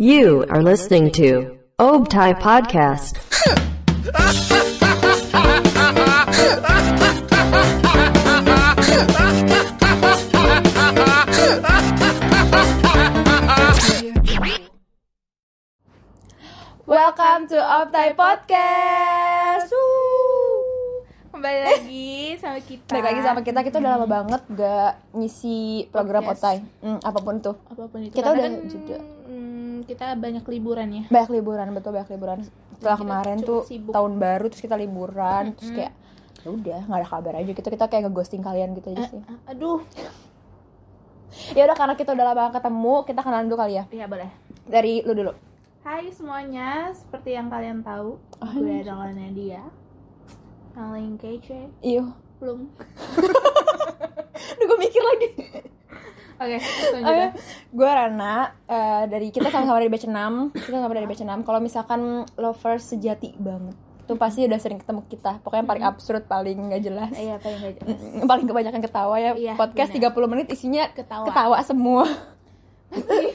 You are listening to Obtai Podcast. Welcome to Optai Podcast. Wuh. Kembali Eh. lagi sama kita. Baik lagi sama kita, kita udah lama banget gak ngisi program Hmm. Podcast. otai Hmm, Apapun tuh apapun itu. Kita Karena udah kan, jeda. mm, kita banyak liburan ya. Banyak liburan, betul banyak liburan Setelah kita kemarin cukup tuh sibuk. Hmm. tahun baru terus kita liburan Terus kayak ya udah nggak ada kabar aja gitu kita kayak ngeghosting kalian gitu aja sih Ah, Aduh, ya udah karena kita udah lama nggak ketemu kita kenalan dulu kali ya iya boleh. dari lu dulu Hai semuanya, seperti yang kalian tahu, Oh, gue adalah Nadia. Paling kece, iyo belum. Aduh gue mikir lagi Oke, lanjut. ya. Gue Rana eh, dari Kita sama-sama dari batch 6 Kita sama dari batch 6 Kalau misalkan lovers sejati banget Itu pasti udah sering ketemu kita Pokoknya yang paling absurd, paling nggak jelas Iya, paling gak jelas. Mm, paling kebanyakan ketawa ya Iya, podcast bener. 30 menit isinya Ketawa. ketawa, semua Pasti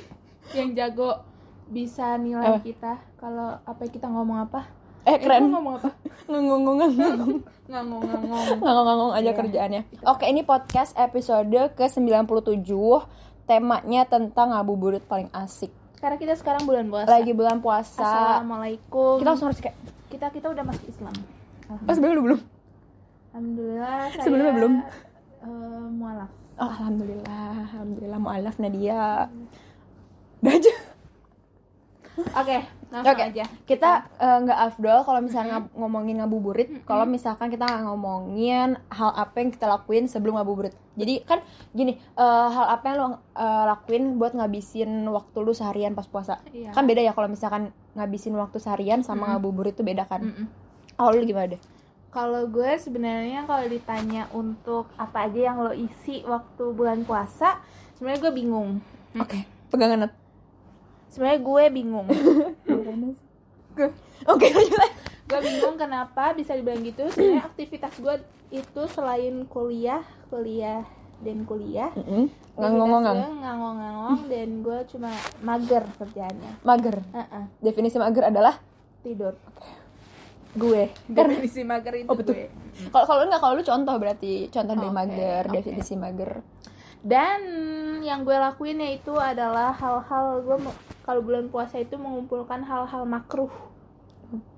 yang jago bisa nilai Apa? kita kalau apa kita ngomong apa. eh Eh, gue keren ngomong apa? ngongong-ngongong Ngomong-ngomong. ngongong aja Iya. kerjaannya oke ini podcast episode ke 97 temanya tentang ngabuburit paling asik Karena kita sekarang bulan puasa. lagi bulan puasa Assalamualaikum. kita langsung harus kayak kita kita udah masuk Islam. oh sebelum belum Alhamdulillah. Saya, Sebelumnya belum. eh, mualaf. oh, alhamdulillah alhamdulillah mualaf Nadia udah aja Oke, langsung Oke, aja. kita eh, nggak afdol kalau misalnya ngab- ngomongin ngabuburit, kalau misalkan kita nggak ngomongin hal apa yang kita lakuin sebelum ngabuburit. Jadi kan gini, eh, hal apa yang lo eh, lakuin buat ngabisin waktu lu seharian pas puasa. Iya. Kan beda ya kalau misalkan ngabisin waktu seharian sama ngabuburit itu beda kan. Mm-mm. Kalau lu gimana deh? Kalau gue sebenarnya kalau ditanya untuk apa aja yang lo isi waktu bulan puasa, sebenarnya gue bingung. Oke, pegangan. Nat. Sebenarnya gue bingung. Oke, lanjut lagi. gue bingung kenapa bisa dibilang gitu. Sebenarnya aktivitas gue itu selain kuliah, kuliah dan kuliah. Mm-mm. Ngangong-ngongong. Aktivitas gue ngangong-ngangong dan gue cuma mager kerjaannya. Mager. Uh-uh. Definisi mager adalah tidur gue. Karena definisi mager itu Oh, betul. gue. kalau kalau lu nggak kalau lu contoh berarti contoh dari Oke, mager, oke. definisi mager. dan yang gue lakuin yaitu adalah hal-hal gue mau- kalau bulan puasa itu mengumpulkan hal-hal makruh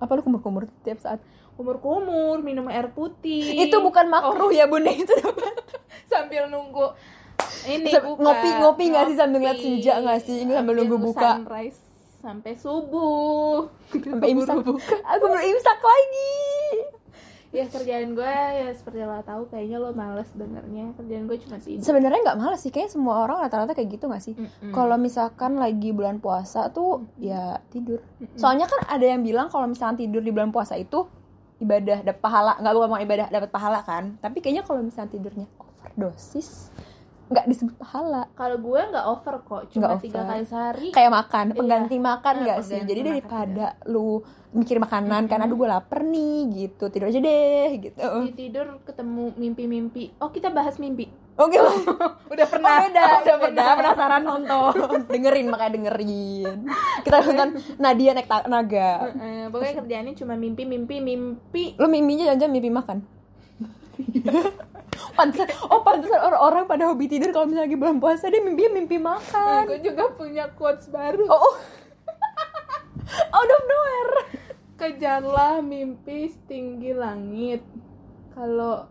apa lu kumur-kumur tiap saat kumur-kumur minum air putih itu bukan Oh. makruh ya bunda itu sambil nunggu ini Sambil buka. ngopi-ngopi nggak sih sambil ngeliat Ngopi. senja nggak sih? Ini sambil nunggu Sambil buka. sunrise sampai subuh sampai imsak Buru-buru. aku belum imsak lagi ya kerjaan gue ya seperti lo tahu kayaknya lo males dengernya kerjaan gue cuma tidur sebenarnya nggak malas sih kayaknya semua orang rata-rata kayak gitu nggak sih Mm-mm. kalau misalkan lagi bulan puasa tuh ya tidur soalnya kan ada yang bilang kalau misalkan tidur di bulan puasa itu ibadah dapat pahala nggak gue mau ibadah dapat pahala kan tapi kayaknya kalau misalkan tidurnya overdosis nggak disebut pahala kalau gue nggak over kok cuma Nggak tiga over. kali sehari kayak makan Iya. pengganti makan Eh, nggak sih pengganti jadi makan, iya. daripada lu mikir makanan karena aduh gue lapar nih gitu tidur aja deh gitu di tidur ketemu mimpi-mimpi oh kita bahas mimpi oke lah udah Oh, beda udah udah pernah penasaran nonton dengerin makanya dengerin kita nonton Nadia naik ta- naga Eh, pokoknya kerjaannya cuma mimpi mimpi mimpi lu mimpinya jangan mimpi makan pantesan oh pantesan orang-orang pada hobi tidur kalau misalnya lagi bulan puasa dia mimpinya mimpi Nah, makan gue juga punya quotes baru oh, oh. out of nowhere kejarlah mimpi setinggi langit kalau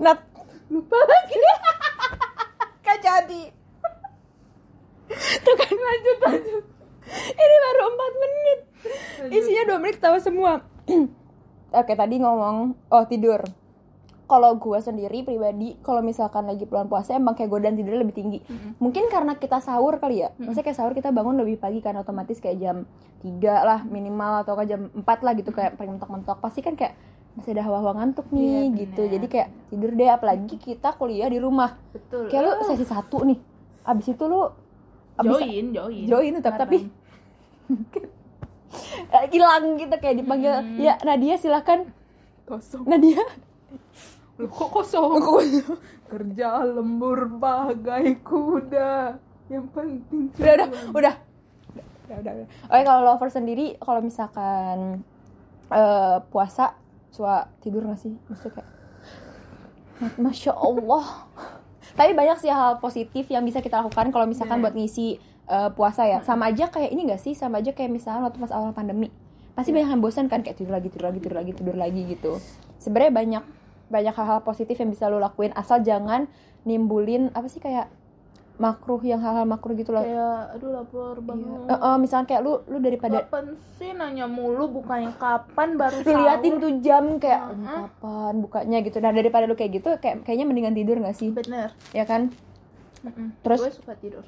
Nat lupa lagi Gak jadi Tuh kan lanjut lanjut Ini baru 4 menit Isinya 2 menit ketawa semua Oke tadi ngomong Oh tidur kalau gue sendiri pribadi kalau misalkan lagi bulan puasa emang kayak godaan tidur lebih tinggi mungkin karena kita sahur kali ya maksudnya kayak sahur kita bangun lebih pagi kan otomatis kayak jam 3 lah minimal atau kayak jam 4 lah gitu kayak paling mentok-mentok pasti kan kayak masih ada hawa-hawa ngantuk nih Iya, gitu bener. jadi kayak tidur deh apalagi kita kuliah di rumah betul kayak lu sesi satu nih abis itu lu abis join join join tetap tapi eh, hilang gitu kayak dipanggil ya Nadia silahkan kosong Nadia lu kok kosong kerja lembur bagai kuda yang penting udah udah udah udah udah, udah. oke kalau lover sendiri kalau misalkan eh, puasa suka tidur gak sih maksudnya kayak masya allah tapi banyak sih hal positif yang bisa kita lakukan kalau misalkan buat ngisi eh, puasa ya sama aja kayak ini gak sih sama aja kayak misalkan waktu pas awal pandemi pasti banyak yang bosan kan kayak tidur lagi tidur lagi tidur lagi tidur lagi gitu sebenarnya banyak banyak hal-hal positif yang bisa lo lakuin asal jangan nimbulin apa sih kayak makruh yang hal-hal makruh gitu loh kayak aduh lapar banget Iya. Eh, eh, misalkan kayak lu lu daripada kapan sih nanya mulu bukannya kapan baru lu sahur liatin tuh jam kayak "Aduh, Heeh. kapan bukanya gitu. Nah, daripada lu kayak gitu kayak kayaknya mendingan tidur gak sih? bener Ya kan? Mm-mm. Terus? gue suka tidur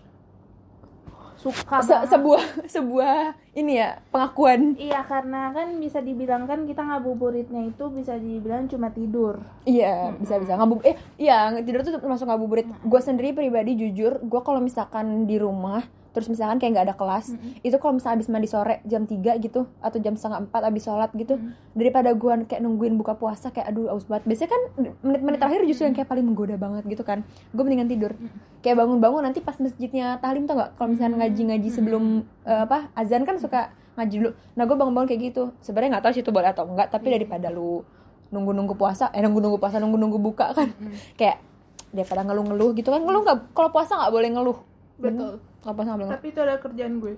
suka Se- banget. sebuah sebuah ini ya, pengakuan. Iya karena kan bisa dibilang kan kita ngabuburitnya itu bisa dibilang cuma tidur. Iya, bisa-bisa ngabu eh iya, tidur tuh termasuk ngabuburit. Gue sendiri pribadi jujur, gue kalau misalkan di rumah terus misalkan kayak nggak ada kelas itu kalau misalnya abis mandi sore jam 3 gitu atau jam setengah 4 abis sholat gitu daripada gua kayak nungguin buka puasa kayak aduh aus banget biasanya kan menit-menit terakhir justru yang kayak paling menggoda banget gitu kan gue mendingan tidur kayak bangun-bangun nanti pas masjidnya tahlim tau gak kalau misalnya ngaji-ngaji sebelum eh, apa azan kan suka ngaji dulu nah gue bangun-bangun kayak gitu sebenarnya nggak tahu sih itu boleh atau enggak tapi daripada lu nunggu-nunggu puasa eh nunggu-nunggu puasa nunggu-nunggu buka kan kayak daripada ngeluh-ngeluh gitu kan ngeluh nggak kalau puasa nggak boleh ngeluh Betul. kalau puasa nggak boleh ngeluh. Tapi itu ada kerjaan gue.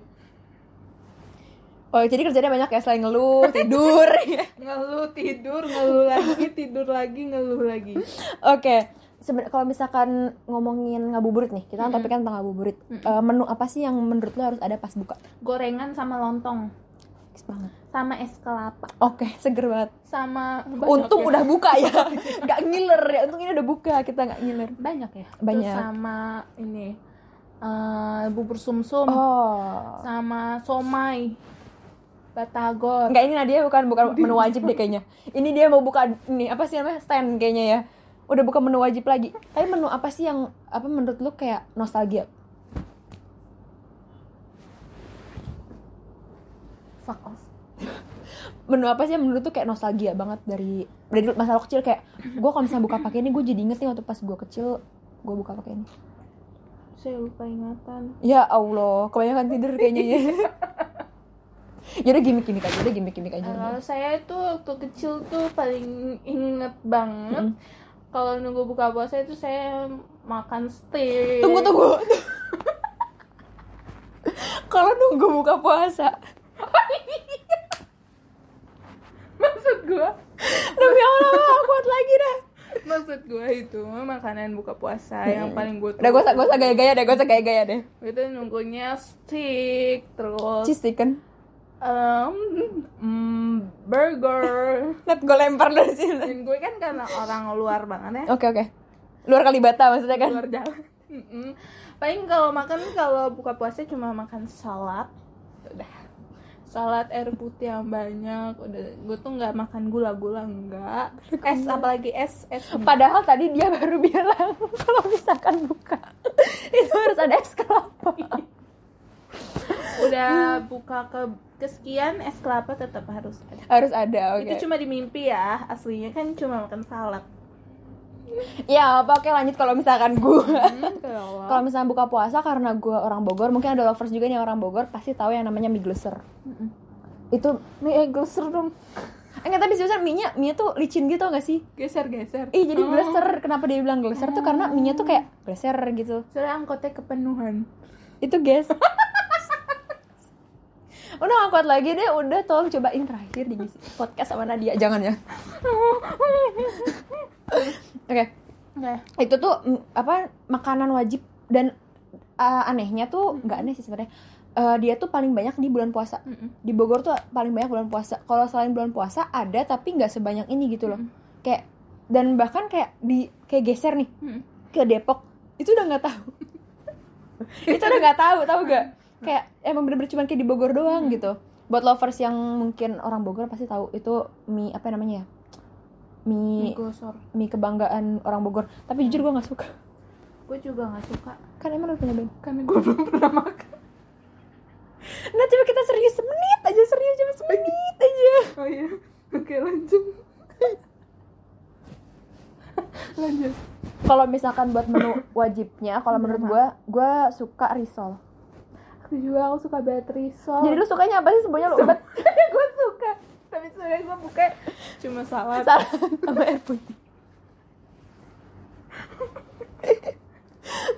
oh jadi kerjanya banyak ya selain ngeluh tidur Ngeluh tidur, ngeluh lagi, tidur lagi, ngeluh lagi. Oke, Seben- kalau misalkan ngomongin ngabuburit nih, kita kan topiknya tentang ngabuburit. Eh, menu apa sih yang menurut lo harus ada pas buka? Gorengan sama lontong, Bagus banget. sama es kelapa, Oke, seger banget. sama untung udah buka ya, nggak ngiler ya. Untung ini udah buka, kita nggak ngiler. banyak ya. Banyak. Terus sama ini eh, bubur sumsum, Oh, sama somai, batagor. nggak ini Nadia bukan bukan menu wajib deh kayaknya. Ini dia mau buka ini apa sih namanya stand kayaknya ya. Udah buka menu wajib lagi. Tapi menu apa sih yang apa menurut lo kayak nostalgia? Fuck off. menu apa sih yang menurut tuh kayak nostalgia banget dari dari dulu masa lo kecil kayak gue kalau misalnya buka pakai ini gue jadi inget nih waktu pas gue kecil gue buka pakai ini Saya lupa ingatan. ya allah kebanyakan tidur kayaknya ya jadi gimmick gimmick aja udah gimmick gimmick aja Kalau saya itu waktu kecil tuh paling inget banget kalau nunggu buka puasa itu saya makan steak. tunggu tunggu kalau nunggu buka puasa Maksud gua, demi allah gak kuat lagi dah maksud gua itu makanan buka puasa yang paling gua udah gue usah gue usah gaya gaya deh gue usah gaya gaya deh itu nunggunya steak terus cheese chicken em, mm, burger. let gue lempar dari sini Dan gue kan karena orang luar banget ya. oke oke luar kalibata maksudnya kan luar jalan. Mm-mm. Paling kalau makan kalau buka puasa cuma makan salad. Udah. Salad air putih yang banyak. Udah gue tuh nggak makan gula-gula enggak. Es apalagi es es. Padahal tadi dia baru bilang kalau misalkan buka itu harus ada es kelapa. Udah buka ke kesekian es kelapa tetap harus ada. harus ada, oke. Itu cuma di mimpi ya. Aslinya kan cuma makan salad. Ya, apa, oke lanjut kalau misalkan gua. Hmm, ya Allah. kalau misalkan buka puasa karena gua orang Bogor, mungkin ada lovers juga nih orang Bogor pasti tahu yang namanya mie gleser. Itu Mie eh, gleser dong. enggak tapi sebenarnya mie-nya mie tuh licin gitu nggak sih? Geser-geser. Ih, jadi gleser. Kenapa dia bilang gleser tuh karena mie-nya tuh kayak gleser gitu. Soalnya angkotnya kepenuhan. Itu guys. udah gak kuat lagi deh, udah tolong cobain terakhir di podcast sama Nadia, jangan ya. Oke, Oke. itu tuh mm, apa makanan wajib dan uh, anehnya tuh nggak aneh sih sebenarnya. Uh, dia tuh paling banyak di bulan puasa. Mm-mm. Di Bogor tuh paling banyak bulan puasa. Kalau selain bulan puasa ada tapi nggak sebanyak ini gitu loh. Kayak dan bahkan kayak di kayak geser nih Mm-mm. ke Depok itu udah nggak tahu. itu udah nggak tahu, tahu gak? Kayak emang bener-bener cuman kayak di Bogor doang gitu. Buat lovers yang mungkin orang Bogor pasti tahu itu mie apa namanya ya? Mie Mie gosor. mie kebanggaan orang Bogor tapi jujur gue nggak suka Gue juga nggak suka. kan emang udah nyobain Karena gue belum pernah makan. nah coba kita serius semenit aja serius coba semenit aja Oh iya, oke lanjut. lanjut. kalau misalkan buat menu wajibnya kalau menurut gue gue suka risol aku juga aku suka banget risol jadi lu sukanya apa sih semuanya lu obat gue suka tapi sebenarnya gue buka cuma salad salah sama air putih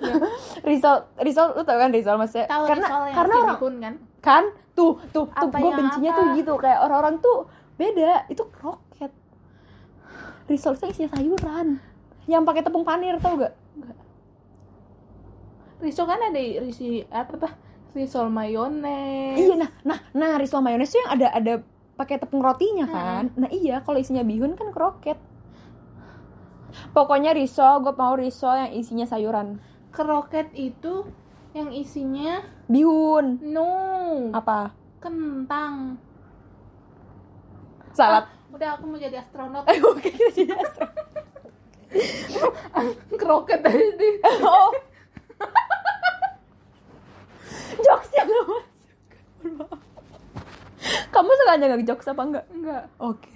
risol risol lu tau kan risol maksudnya tahu karena risol yang karena si orang bihun kan kan tuh tuh tuh Apa gue yang bencinya apa? tuh gitu kayak orang-orang tuh beda itu kroket risol tuh isinya sayuran yang pakai tepung panir tau gak risol kan ada risi apa apa risol mayones Iya nah nah nah risol mayones tuh yang ada ada pakai tepung rotinya Hmm. kan. Nah iya kalau isinya bihun kan kroket. Pokoknya risol gue mau risol yang isinya sayuran. kroket itu yang isinya Bihun no apa? kentang Salad. Ah, udah aku mau jadi astronot Eh oke kita jadi astro- kroket tadi Oh. jokes yang gak masuk. Mohon maaf. Kamu suka nggak jokes apa enggak? enggak Oke.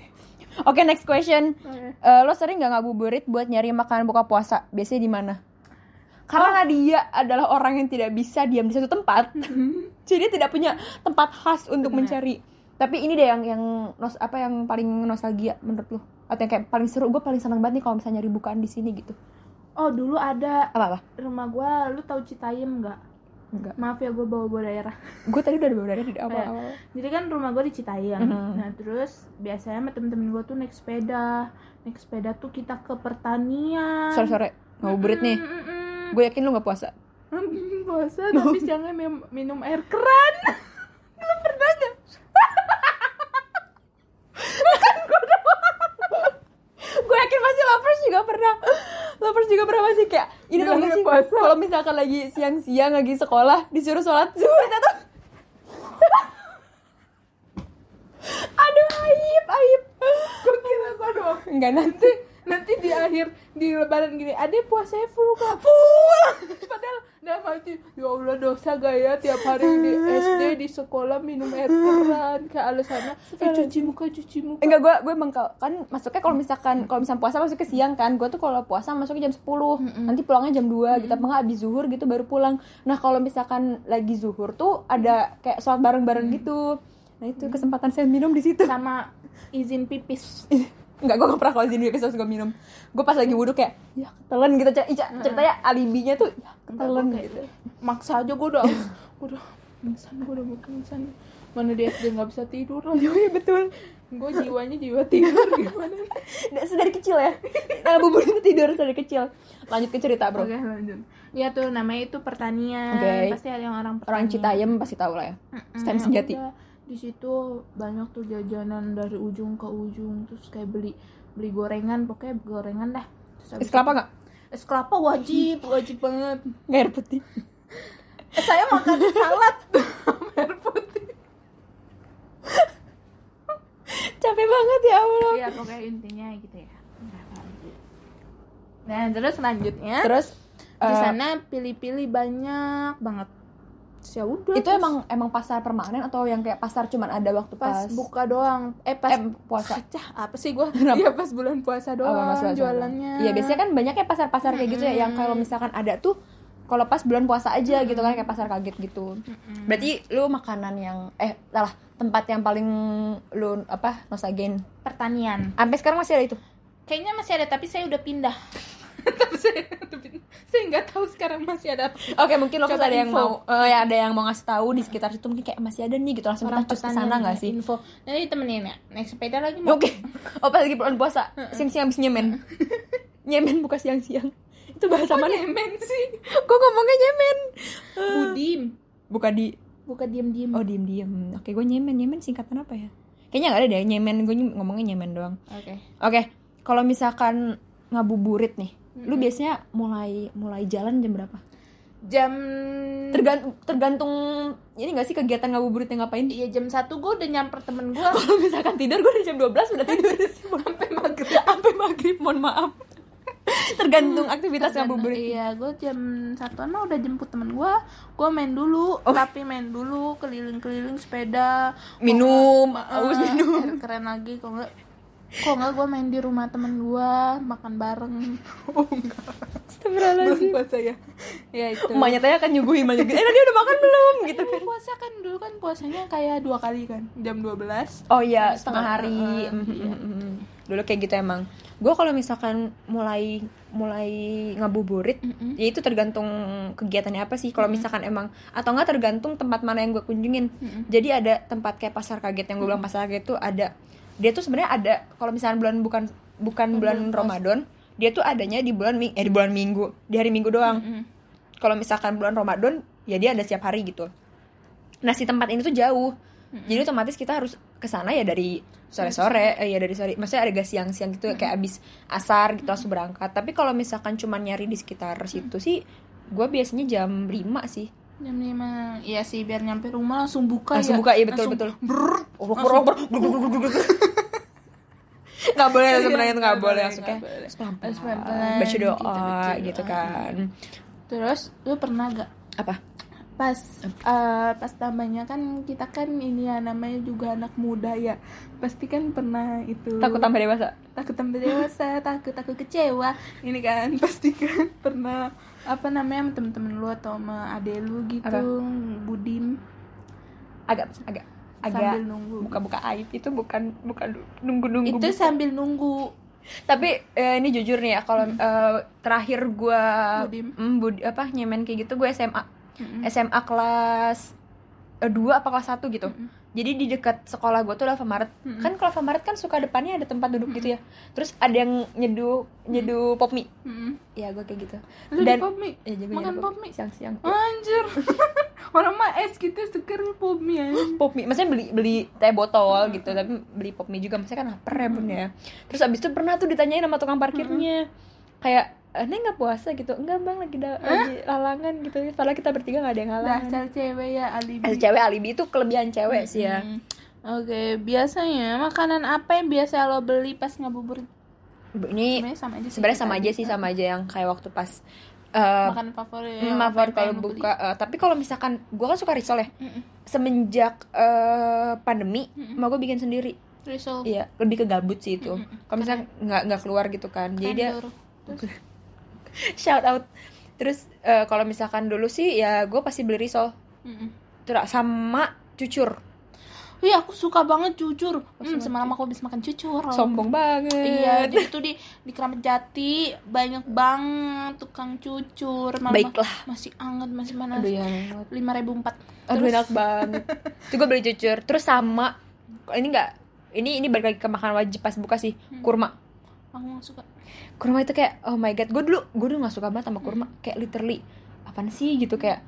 Oke next question. Oke. Eh, lo sering nggak ngabuburit buat nyari makanan buka puasa? Biasanya di mana? Oh. Karena dia adalah orang yang tidak bisa diam di satu tempat. Jadi dia tidak punya tempat khas untuk Benar. mencari. Tapi ini deh yang yang nos apa yang paling nostalgia menurut lo? Atau yang kayak paling seru? Gue paling seneng banget nih kalau misalnya nyari bukaan di sini gitu. oh dulu ada Apa apa? rumah gua lu tahu Citayam nggak Enggak. maaf ya gue bawa bawa daerah Gue tadi udah bawa dari ya? awal. jadi kan rumah gue di Citayam Mhm. nah terus biasanya sama temen-temen gue tuh naik sepeda naik sepeda tuh kita ke pertanian Sore sore ngabuburit nih. Mm, mm, mm. Gue yakin lo nggak puasa. bosan tapi jangan mim- minum air keran lu pernah gak? Kan gue yakin pasti lovers juga pernah lovers juga pernah masih kayak ini tuh Bilang nggak udah sih puasa. kalau misalkan lagi siang-siang lagi sekolah disuruh sholat zuhur kita tuh aduh aib aib gue kira gua doang enggak nanti nanti di akhir di lebaran gini ada puasanya full kak full padahal dalam hati ya Allah dosa gaya tiap hari di SD di sekolah minum air keran kayak alasannya eh, cuci muka cuci muka enggak gue gue emang kalau- kan masuknya kalau misalkan kalau misalkan puasa masuknya siang kan gue tuh kalau puasa masuknya jam 10 nanti pulangnya jam 2 gitu apa enggak abis zuhur gitu baru pulang nah kalau misalkan lagi zuhur tuh ada kayak sholat bareng Mm. bareng gitu nah itu kesempatan saya minum di situ sama izin pipis Enggak, gue gak pernah kalau sini terus gue minum Gue pas lagi wudhu kayak, ya ketelan gitu Cer- Ica- Ceritanya alibinya tuh, ya ketelan Enggak, gua gitu maksa aja gue udah gue udah pingsan gue udah mau pingsan mana di SD nggak bisa tidur Iya iya, betul gue jiwanya jiwa tidur gimana Dan Dari kecil ya Nah bubur itu tidur dari kecil Lanjut ke cerita bro Oke lanjut. Ya tuh namanya itu pertanian. Oke. Pasti ada yang orang pertanian. Orang Citayam pasti tahu lah ya Mm-mm, STEM sejati udah. Di situ banyak tuh jajanan dari ujung ke ujung terus kayak beli beli gorengan pokoknya gorengan dah. Terus habis Es kelapa gak? itu- Es kelapa wajib, wajib banget. Gak air putih Eh, saya makan salad sama air putih. Capek banget ya Allah Ya pokoknya intinya gitu ya. Nah, lanjut. Nah, terus selanjutnya Iya. Terus di eh, sana pilih-pilih banyak banget. Ya udah. Itu terus emang emang pasar permanen atau yang kayak pasar cuman ada waktu pas pas, buka doang. Eh pas Eh puasa Cah, apa sih gue? Kenapa? Iya pas bulan puasa doang Apa masalah jualannya. Iya biasanya kan banyak kayak pasar-pasar kayak gitu ya yang kalau misalkan ada tuh kalau pas bulan puasa aja gitu kan kayak pasar kaget gitu. Berarti lu makanan yang eh lah tempat yang paling lu apa nostalgiain. pertanian. Sampai sekarang masih ada itu. Kayaknya masih ada tapi saya udah pindah. tapi saya udah pindah. Saya nggak tahu sekarang masih ada. apa. Oke, mungkin lo Coba ada yang info. mau eh, ya ada yang mau ngasih tahu di sekitar situ mungkin kayak masih ada nih gitu langsung kita cus ke sana nggak sih? Info. Nanti temenin ya. Naik sepeda lagi mau. Oke. Oh, pas lagi bulan puasa, siang-siang habis nyemen. nyemen buka siang-siang. Itu bahasa Kok mana? nyemen sih? Gue ngomongnya nyemen. Eh. Budim. Buka di Buka diem-diem. Oh diem diem. Oke gue nyemen nyemen singkatan apa ya? Kayaknya nggak ada deh nyemen gue nyem- ngomongnya nyemen doang. Oke. Oke kalau misalkan ngabuburit nih, lu biasanya mulai mulai jalan jam berapa? Jam Mm. Tergantung tergantung ini nggak sih kegiatan ngabuburitnya ngapain? Iya jam satu gue udah nyamper temen gue Kalau misalkan tidur gue udah jam 12 udah tidur sampai maghrib sampai maghrib mohon maaf. Hmm, tergantung aktivitas ngabuburit. Iya gue jam satuan mah udah jemput temen gue Gue main dulu Oh. Tapi main dulu keliling-keliling sepeda Minum, Kalau haus nggak, minum. air Keren lagi kalau nggak Kalau nggak gue main di rumah temen gue makan bareng. Oh enggak. Astagfirullahaladzim. puasa ya. Ya itu. Emaknya tanya akan nyuguhin emaknya gitu. Eh tadi udah makan belum gitu Ini kan. puasa kan dulu kan puasanya kayak dua kali kan jam 12 Oh iya, Terus setengah makan, hari. eh, Mm, iya. mm, mm, mm. Dulu kayak gitu emang. Gue kalau misalkan mulai mulai ngabuburit, Mm-mm. ya itu tergantung kegiatannya apa sih. Kalau misalkan emang atau enggak tergantung tempat mana yang gue kunjungin. Jadi ada tempat kayak pasar kaget yang gue bilang pasar kaget tuh ada. Dia tuh sebenarnya ada kalau misalkan bulan bukan bukan bulan bulan puasa. Ramadan, dia tuh adanya di bulan mi- eh, di bulan Minggu, di hari Minggu doang. Mm-mm. Kalau misalkan bulan Ramadan, ya dia ada setiap hari gitu. Nah si tempat ini tuh jauh, jadi otomatis kita harus ke sana ya dari sore-sore, eh, ya dari sore. Maksudnya ada gak siang-siang gitu kayak abis asar gitu langsung berangkat. Tapi kalau misalkan cuma nyari di sekitar situ sih, gue biasanya jam 5 sih. Jam 5 Iya sih biar nyampe rumah langsung buka Langsung ya buka, iya, betul, Langsung betul. Oh, brrrr. Gak boleh langsung Iya, menanya tuh gak boleh langsung nggak kayak boleh. Harus pelan-pelan, pelan-pelan, baca doa kita baca gitu doa. kan. Terus lu pernah gak Apa? pas eh, pas tambahnya kan kita kan ini ya namanya juga anak muda ya pasti kan pernah itu Takut tambah dewasa? takut tambah dewasa takut takut kecewa ini kan pasti kan pernah apa namanya sama temen-temen lu atau sama ade lu gitu Apa? budim Agak, agak, sambil agak. nunggu Buka-buka aib itu bukan bukan nunggu-nunggu itu sambil nunggu tapi eh, ini jujur nih ya kalau Hmm. eh, terakhir gue Budim. apa nyemen kayak gitu gue SMA Mm-mm. SMA kelas 2 apa kelas 1 gitu Hmm. jadi di dekat sekolah gue tuh Alfamart kan kalau Alfamart kan suka depannya ada tempat duduk gitu ya Hmm. terus ada yang nyeduh nyeduh pop mie Mm-mm. ya gue kayak gitu Hmm. Lu di pop mie? Iya, jago Makan nyari pop mie? siang-siang anjir orang mah es kita seger pop mie anjir. pop mie maksudnya beli beli teh botol gitu tapi beli pop mie juga maksudnya kan lapar ya bun ya Hmm. terus abis itu pernah tuh ditanyain sama tukang parkirnya kayak "Eh, neng nggak puasa gitu enggak bang lagi da- lagi lalangan gitu padahal kita bertiga nggak ada yang lalangan dasar cewek ya alibi Eh, cewek alibi itu kelebihan cewek sih ya Hmm. Oke, biasanya makanan apa yang biasa lo beli pas ngabuburit? Bu, ini Sebenarnya sama aja sih. Iya, sebenarnya sama tadi. aja sih sama aja yang kayak waktu pas eh Makanan favorit. ya, Hmm, favorit apa yang kalau pengen lo beli? Hmm. buka eh, tapi kalau misalkan gue kan suka risol ya Mm-mm. semenjak eh, pandemi Hmm. mau gue bikin sendiri Risol. Iya, lebih ke gabut sih itu. Kalau misalnya nggak nggak keluar gitu kan, jadi dia Tandoor. Terus, shout out. Terus eh, kalau misalkan dulu sih ya gue pasti beli risol, mm-mm. Terus sama cucur, Wih, aku suka banget cucur. Oh, Hmm, semalam aku habis makan cucur. sombong banget. Iya, jadi itu di di Keramat Jati banyak banget tukang cucur. Malam Baiklah. Masih anget, masih panas. Aduh ya, Lima ribu empat. aduh enak banget. Itu gue beli cucur, terus sama ini nggak, ini ini balik lagi ke makanan wajib pas buka sih, kurma. Aku nggak suka. kurma itu kayak oh my god gue dulu gue dulu nggak suka banget sama kurma Hmm. kayak literally apaan sih gitu kayak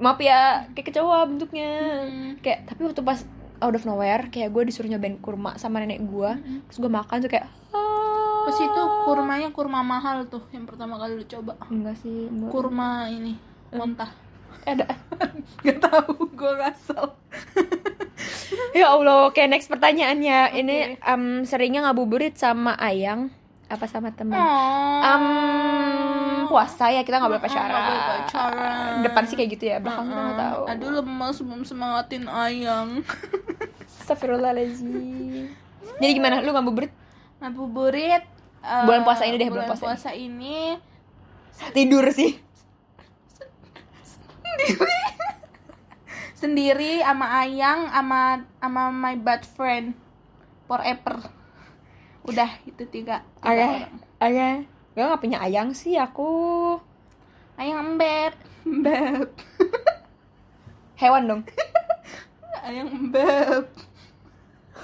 maaf ya kayak kecewa bentuknya Hmm. kayak tapi waktu pas out of nowhere kayak gue disuruh nyobain kurma sama nenek gue Hmm. terus gue makan tuh kayak ah. Terus itu kurmanya kurma mahal tuh yang pertama kali lu coba. enggak sih gua- Kurma ini montah. Eh, ada Gak tahu, gue ngasal. ya allah oke next pertanyaannya ini Oke. em, seringnya ngabuburit sama ayang apa sama teman Hmm. Eh, Em, puasa ya kita nggak boleh Mm-mm, Hmm, nggak pacaran. boleh pacaran. Hmm. Depan sih kayak gitu ya, belakang kita nggak tahu. Aduh lemes belum semangatin ayam. Astagfirullahaladzim Jadi gimana? Lu ngabuburit? Ngabuburit Nah, eh, Bulan puasa ini deh, bulan bulan puasa ini. puasa ini. Tidur sih sendiri sama ayang sama sama my bad friend forever. Udah itu tiga. tiga Ayah orang. Ayah Gue gak punya ayang sih aku Ayang embeb. Embeb. Hewan dong Ayang embeb.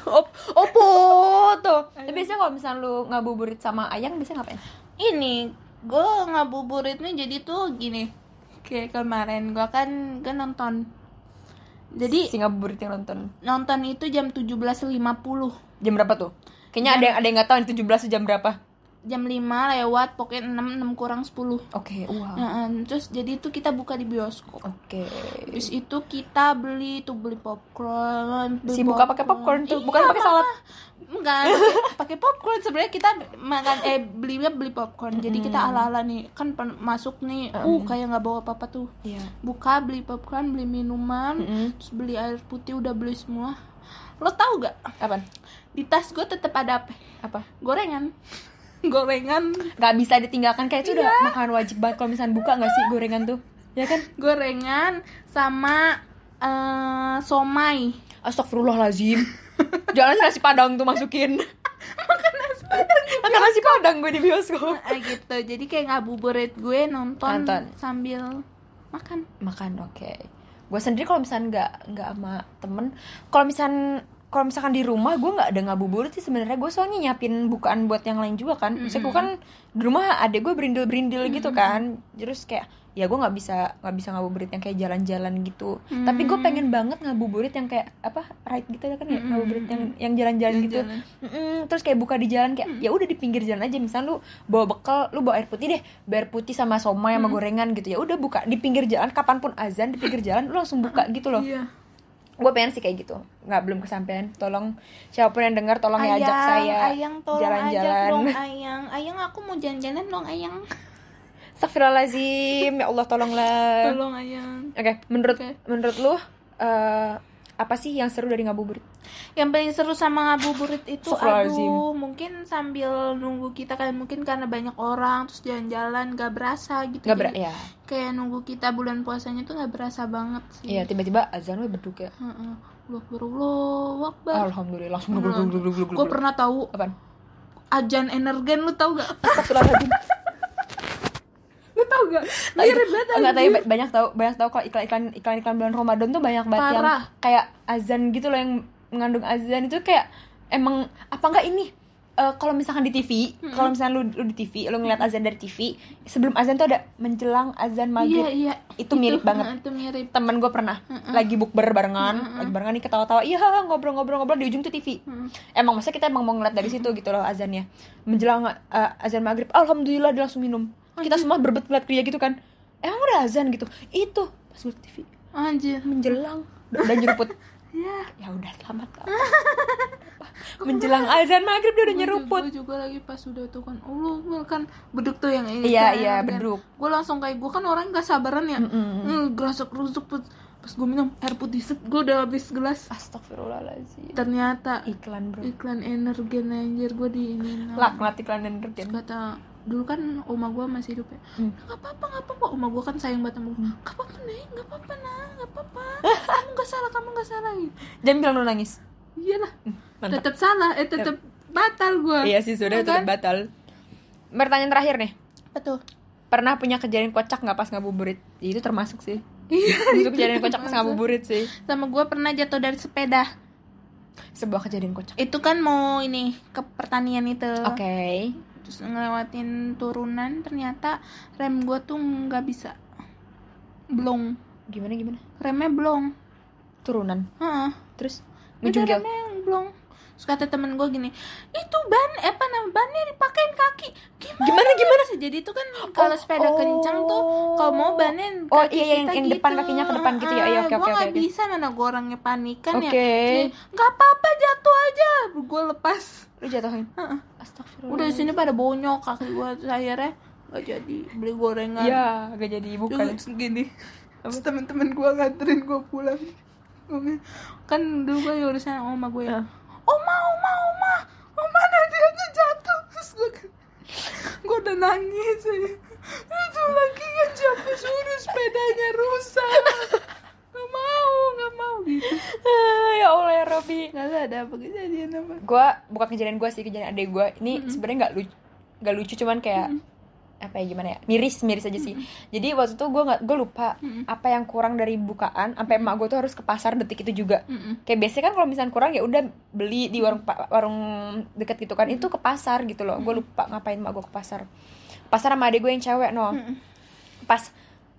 Op- Opo Oh, tuh Tapi biasanya kalau misalnya lu ngabuburit sama ayang biasanya ngapain? ini gue ngabuburitnya jadi tuh gini kayak kemarin gue kan gue nonton jadi Si ngabuburit yang nonton nonton itu jam 17.50 Jam berapa tuh? Kayaknya ada yang ada yang gak tau nih 17 tuh jam berapa jam 5 lewat pokoknya 6 6 kurang 10 Oke, wow Nah, em, terus jadi itu kita buka di bioskop Oke Terus itu kita beli tuh beli popcorn, beli Iya, Sibuk pakai popcorn tuh, bukan pakai salad Enggak, pakai- pakai popcorn sebenarnya kita makan eh belinya beli popcorn. Jadi kita Hmm. ala-ala nih, kan pen- masuk nih, uh kayak nggak bawa apa-apa tuh. Iya Hmm. buka beli popcorn beli minuman Mm-mm. terus beli air putih udah beli semua lo tau gak Apaan? di tas gue tetap ada apa Apa? gorengan gorengan Gak bisa ditinggalkan kayak itu udah makanan wajib banget kalau misalnya buka gak sih gorengan tuh? Ya kan? gorengan sama eh, somai Astagfirullahalazim. Jangan nasi padang tuh masukin. makan nasi padang Makan nasi padang gue di bioskop. Ah, gitu jadi kayak ngabuburit gue nonton, Nonton. sambil makan Makan oke. Gue sendiri kalau misalnya nggak nggak sama temen, kalau misalnya kalau misalkan di rumah gue nggak ada ngabuburit sih sebenarnya gue soalnya nyiapin bukaan buat yang lain juga kan. Misalnya gue kan di rumah adek gue berindil berindil gitu kan. Terus kayak ya gue nggak bisa nggak bisa ngabuburit yang kayak jalan-jalan gitu. Tapi gue pengen banget ngabuburit yang kayak apa ride gitu ya kan ya ngabuburit yang yang jalan-jalan gitu. Jalan-jalan. Mm-mm, terus kayak buka di jalan kayak ya udah di pinggir jalan aja misalnya lu bawa bekal lu bawa air putih deh bawa air putih sama somai sama gorengan gitu ya udah buka di pinggir jalan kapanpun azan di pinggir jalan lu langsung buka gitu loh iya gue pengen sih kayak gitu nggak belum kesampaian tolong siapapun yang dengar tolong ya ajak saya ayang tolong ajak dong ayang ayang aku mau jalan-jalan dong ayang Astagfirullahaladzim ya Allah tolonglah oke tolong ayang menurut Oke. menurut lu eh, apa sih yang seru dari ngabuburit yang paling seru sama ngabuburit itu Astagfirullahaladzim. aduh mungkin sambil nunggu kita kan mungkin karena banyak orang terus jalan-jalan gak berasa gitu nggak berat Jadi, ya kayak nunggu kita bulan puasanya tuh gak berasa banget sih iya tiba-tiba azan gue berduk ya Heeh. Allahu Akbar, Allahu Akbar. alhamdulillah langsung glug, glug, glug, glug, glug, glug. Gue pernah tahu apaan ajan energen lu tau gak? Astagfirullahaladzim Nah, Lu tau gak? Mirip banget Enggak Oh, tapi anjing. ba- banyak tahu banyak tahu kalau iklan-iklan iklan-iklan bulan Ramadan tuh banyak banget yang Parah. kayak azan gitu loh yang mengandung azan itu kayak emang apa enggak ini Eh, kalau misalkan di TV, Hmm. kalau misalkan lu, lu di TV, lu ngeliat azan dari TV, sebelum azan tuh ada menjelang azan Iya maghrib. iya. Itu mirip banget. heeh, Itu mirip. Temen gue pernah lagi bukber barengan, lagi barengan nih ketawa-tawa, iya ngobrol-ngobrol-ngobrol di ujung tuh TV. Emang masa kita emang mau ngeliat dari situ gitu loh azannya. Menjelang eh, azan maghrib, alhamdulillah dia langsung minum. Kita semua berbet ngeliat dia gitu kan. Emang udah azan gitu. Itu pas gue TV Anjir. menjelang udah nyeruput. Iya. ya udah selamat kak. menjelang azan maghrib dia udah nyeruput. Gue juga lagi pas udah tuh kan, oh, lu lu kan beduk tuh yang ini. Iya, iya, beduk. Gue langsung kayak gue kan orang gak sabaran ya. Mm, gerasuk rusuk pas, pas gue minum air putih set, gue udah habis gelas. Astagfirullahaladzim. Ternyata Iklan bro. iklan energen anjir gue di ini. Laknat iklan dan kerjaan. kata dulu kan oma gue masih hidup ya Hmm. nggak apa-apa nggak apa-apa oma gue kan sayang banget sama gue nggak apa-apa neng nggak apa-apa nah nggak apa-apa kamu nggak salah kamu nggak salah gitu. Jangan bilang lu nangis. iyalah Hmm, mantap. tetap salah eh tetap batal gue Iya sih sudah Iya kan? tetap batal. Pertanyaan terakhir nih. betul Pernah punya kejadian kocak nggak pas ngabuburit? Ya, Itu termasuk sih. Iya, Itu itu kejadian kocak pas termasuk. ngabuburit sih. sama gue pernah jatuh dari sepeda Sebuah kejadian kocak. itu kan mau ini ke pertanian itu Oke. terus ngelewatin turunan ternyata rem gue tuh nggak bisa blong Gimana gimana? remnya blong Turunan. Heeh. Terus Udah ngejungkel. remnya yang belum Terus kata temen gue gini Itu ban, eh, apa namanya, bannya dipakein kaki Gimana, Gimana, gimana? bisa Jadi itu kan kalau sepeda oh. kencang tuh Kalau mau bannya Oh, kaki iya, iya, yang- kita yang depan kakinya ke depan gitu ya. Iya, oke, Gue oke, oke, gak oke. bisa, mana gue orangnya panikan ya Oke. Jadi, Gak apa-apa, jatuh aja Gue lepas Lu jatuhin. Heeh. Astagfirullah. Udah di sini pada bonyok kaki gue Terus akhirnya gak jadi beli gorengan Iya, gak jadi bukan. Terus gini Terus temen-temen gue nganterin gue pulang Gua- Kan dulu gue urusan sama oma gue ya Oma, oma, oma Oma Nadianya jatuh Terus gue Gue udah nangis aja. Itu lagi kan jatuh suruh sepedanya rusak Gak mau, gak mau gitu Ah, ya Allah ya Robi. Gak ada apa kejadian apa gue bukan kejadian gue sih kejadian adek gue ini sebenarnya nggak lucu nggak lucu cuman kayak apa ya gimana ya miris miris aja sih jadi waktu itu gue nggak gue lupa apa yang kurang dari bukaan sampai emak gue tuh harus ke pasar detik itu juga Mm-mm. kayak biasanya kan kalau misalnya kurang ya udah beli di warung pa- warung deket gitu kan itu ke pasar gitu loh gue lupa ngapain emak gue ke pasar pasar sama adek gue yang cewek no pas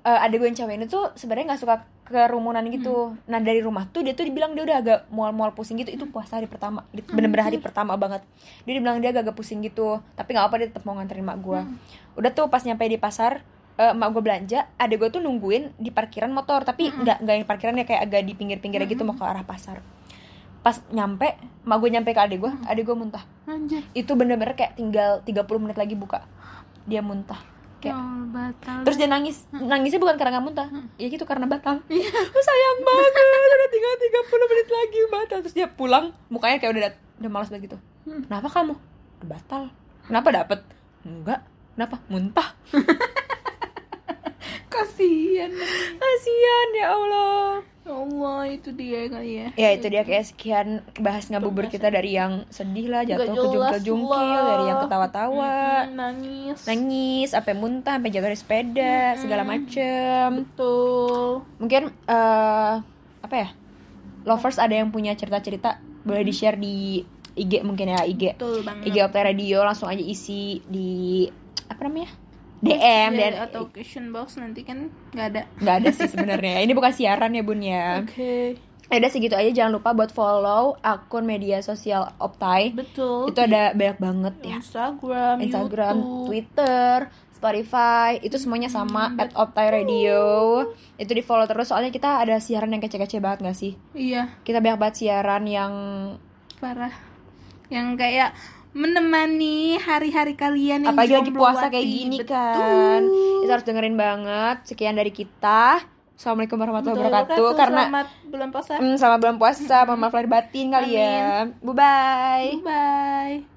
eh, adek gue yang cewek ini tuh sebenarnya nggak suka kerumunan gitu nah dari rumah tuh dia tuh dibilang dia udah agak mual-mual pusing gitu itu puasa hari pertama Di- bener-bener hari pertama banget dia dibilang dia agak-agak pusing gitu tapi nggak apa dia tetap mau nganterin mak gue udah tuh pas nyampe di pasar eh, mak gue belanja adek gue tuh nungguin di parkiran motor tapi nggak nggak yang parkirannya kayak agak di pinggir-pinggirnya gitu mau ke arah pasar pas nyampe mak gue nyampe ke adek gue adek gue muntah Anjir itu bener-bener kayak tinggal 30 menit lagi buka dia muntah Ya kayak Allah, batal Terus dia Hmm. Iya. nangis, nangisnya bukan karena nggak muntah, ya gitu karena batal. Lu sayang banget, Oh, udah tinggal 10 menit lagi batal terus dia pulang mukanya kayak udah udah malas banget gitu Hmm. kenapa kamu batal kenapa dapet enggak kenapa muntah kasihan kasian ya allah ya Allah itu dia kali ya ya itu dia kayak sekian bahas ngabubur kita dari yang sedih lah jatuh Nggak ke jelas jungkil lah. dari yang ketawa-tawa Mm, nangis nangis sampai muntah sampai jatuh dari sepeda Hmm. segala macem betul mungkin eh apa ya lovers ada yang punya cerita-cerita boleh di share di IG mungkin ya IG betul banget IG Optai Radio langsung aja isi di apa namanya DM dan Dari atau question Iya, box nanti kan nggak ada nggak ada sih sebenarnya ini bukan siaran ya bun ya oke ya udah segitu aja jangan lupa buat follow akun media sosial Optai betul itu ada banyak banget ya Instagram Instagram, YouTube. Twitter, Spotify, itu semuanya sama Hmm, at Optai Radio. Itu di follow terus soalnya kita ada siaran yang kece-kece banget gak sih? iya Kita banyak banget siaran yang parah yang kayak menemani hari-hari kalian yang apalagi lagi jomblo puasa wati. kayak gini Betul. kan. Itu harus dengerin banget. Sekian dari kita. Assalamualaikum warahmatullahi Betul, wabarakatuh. betul. Karena selamat bulan puasa mm, sama bulan puasa, mohon maaf lahir batin kali ya. Bye bye. bye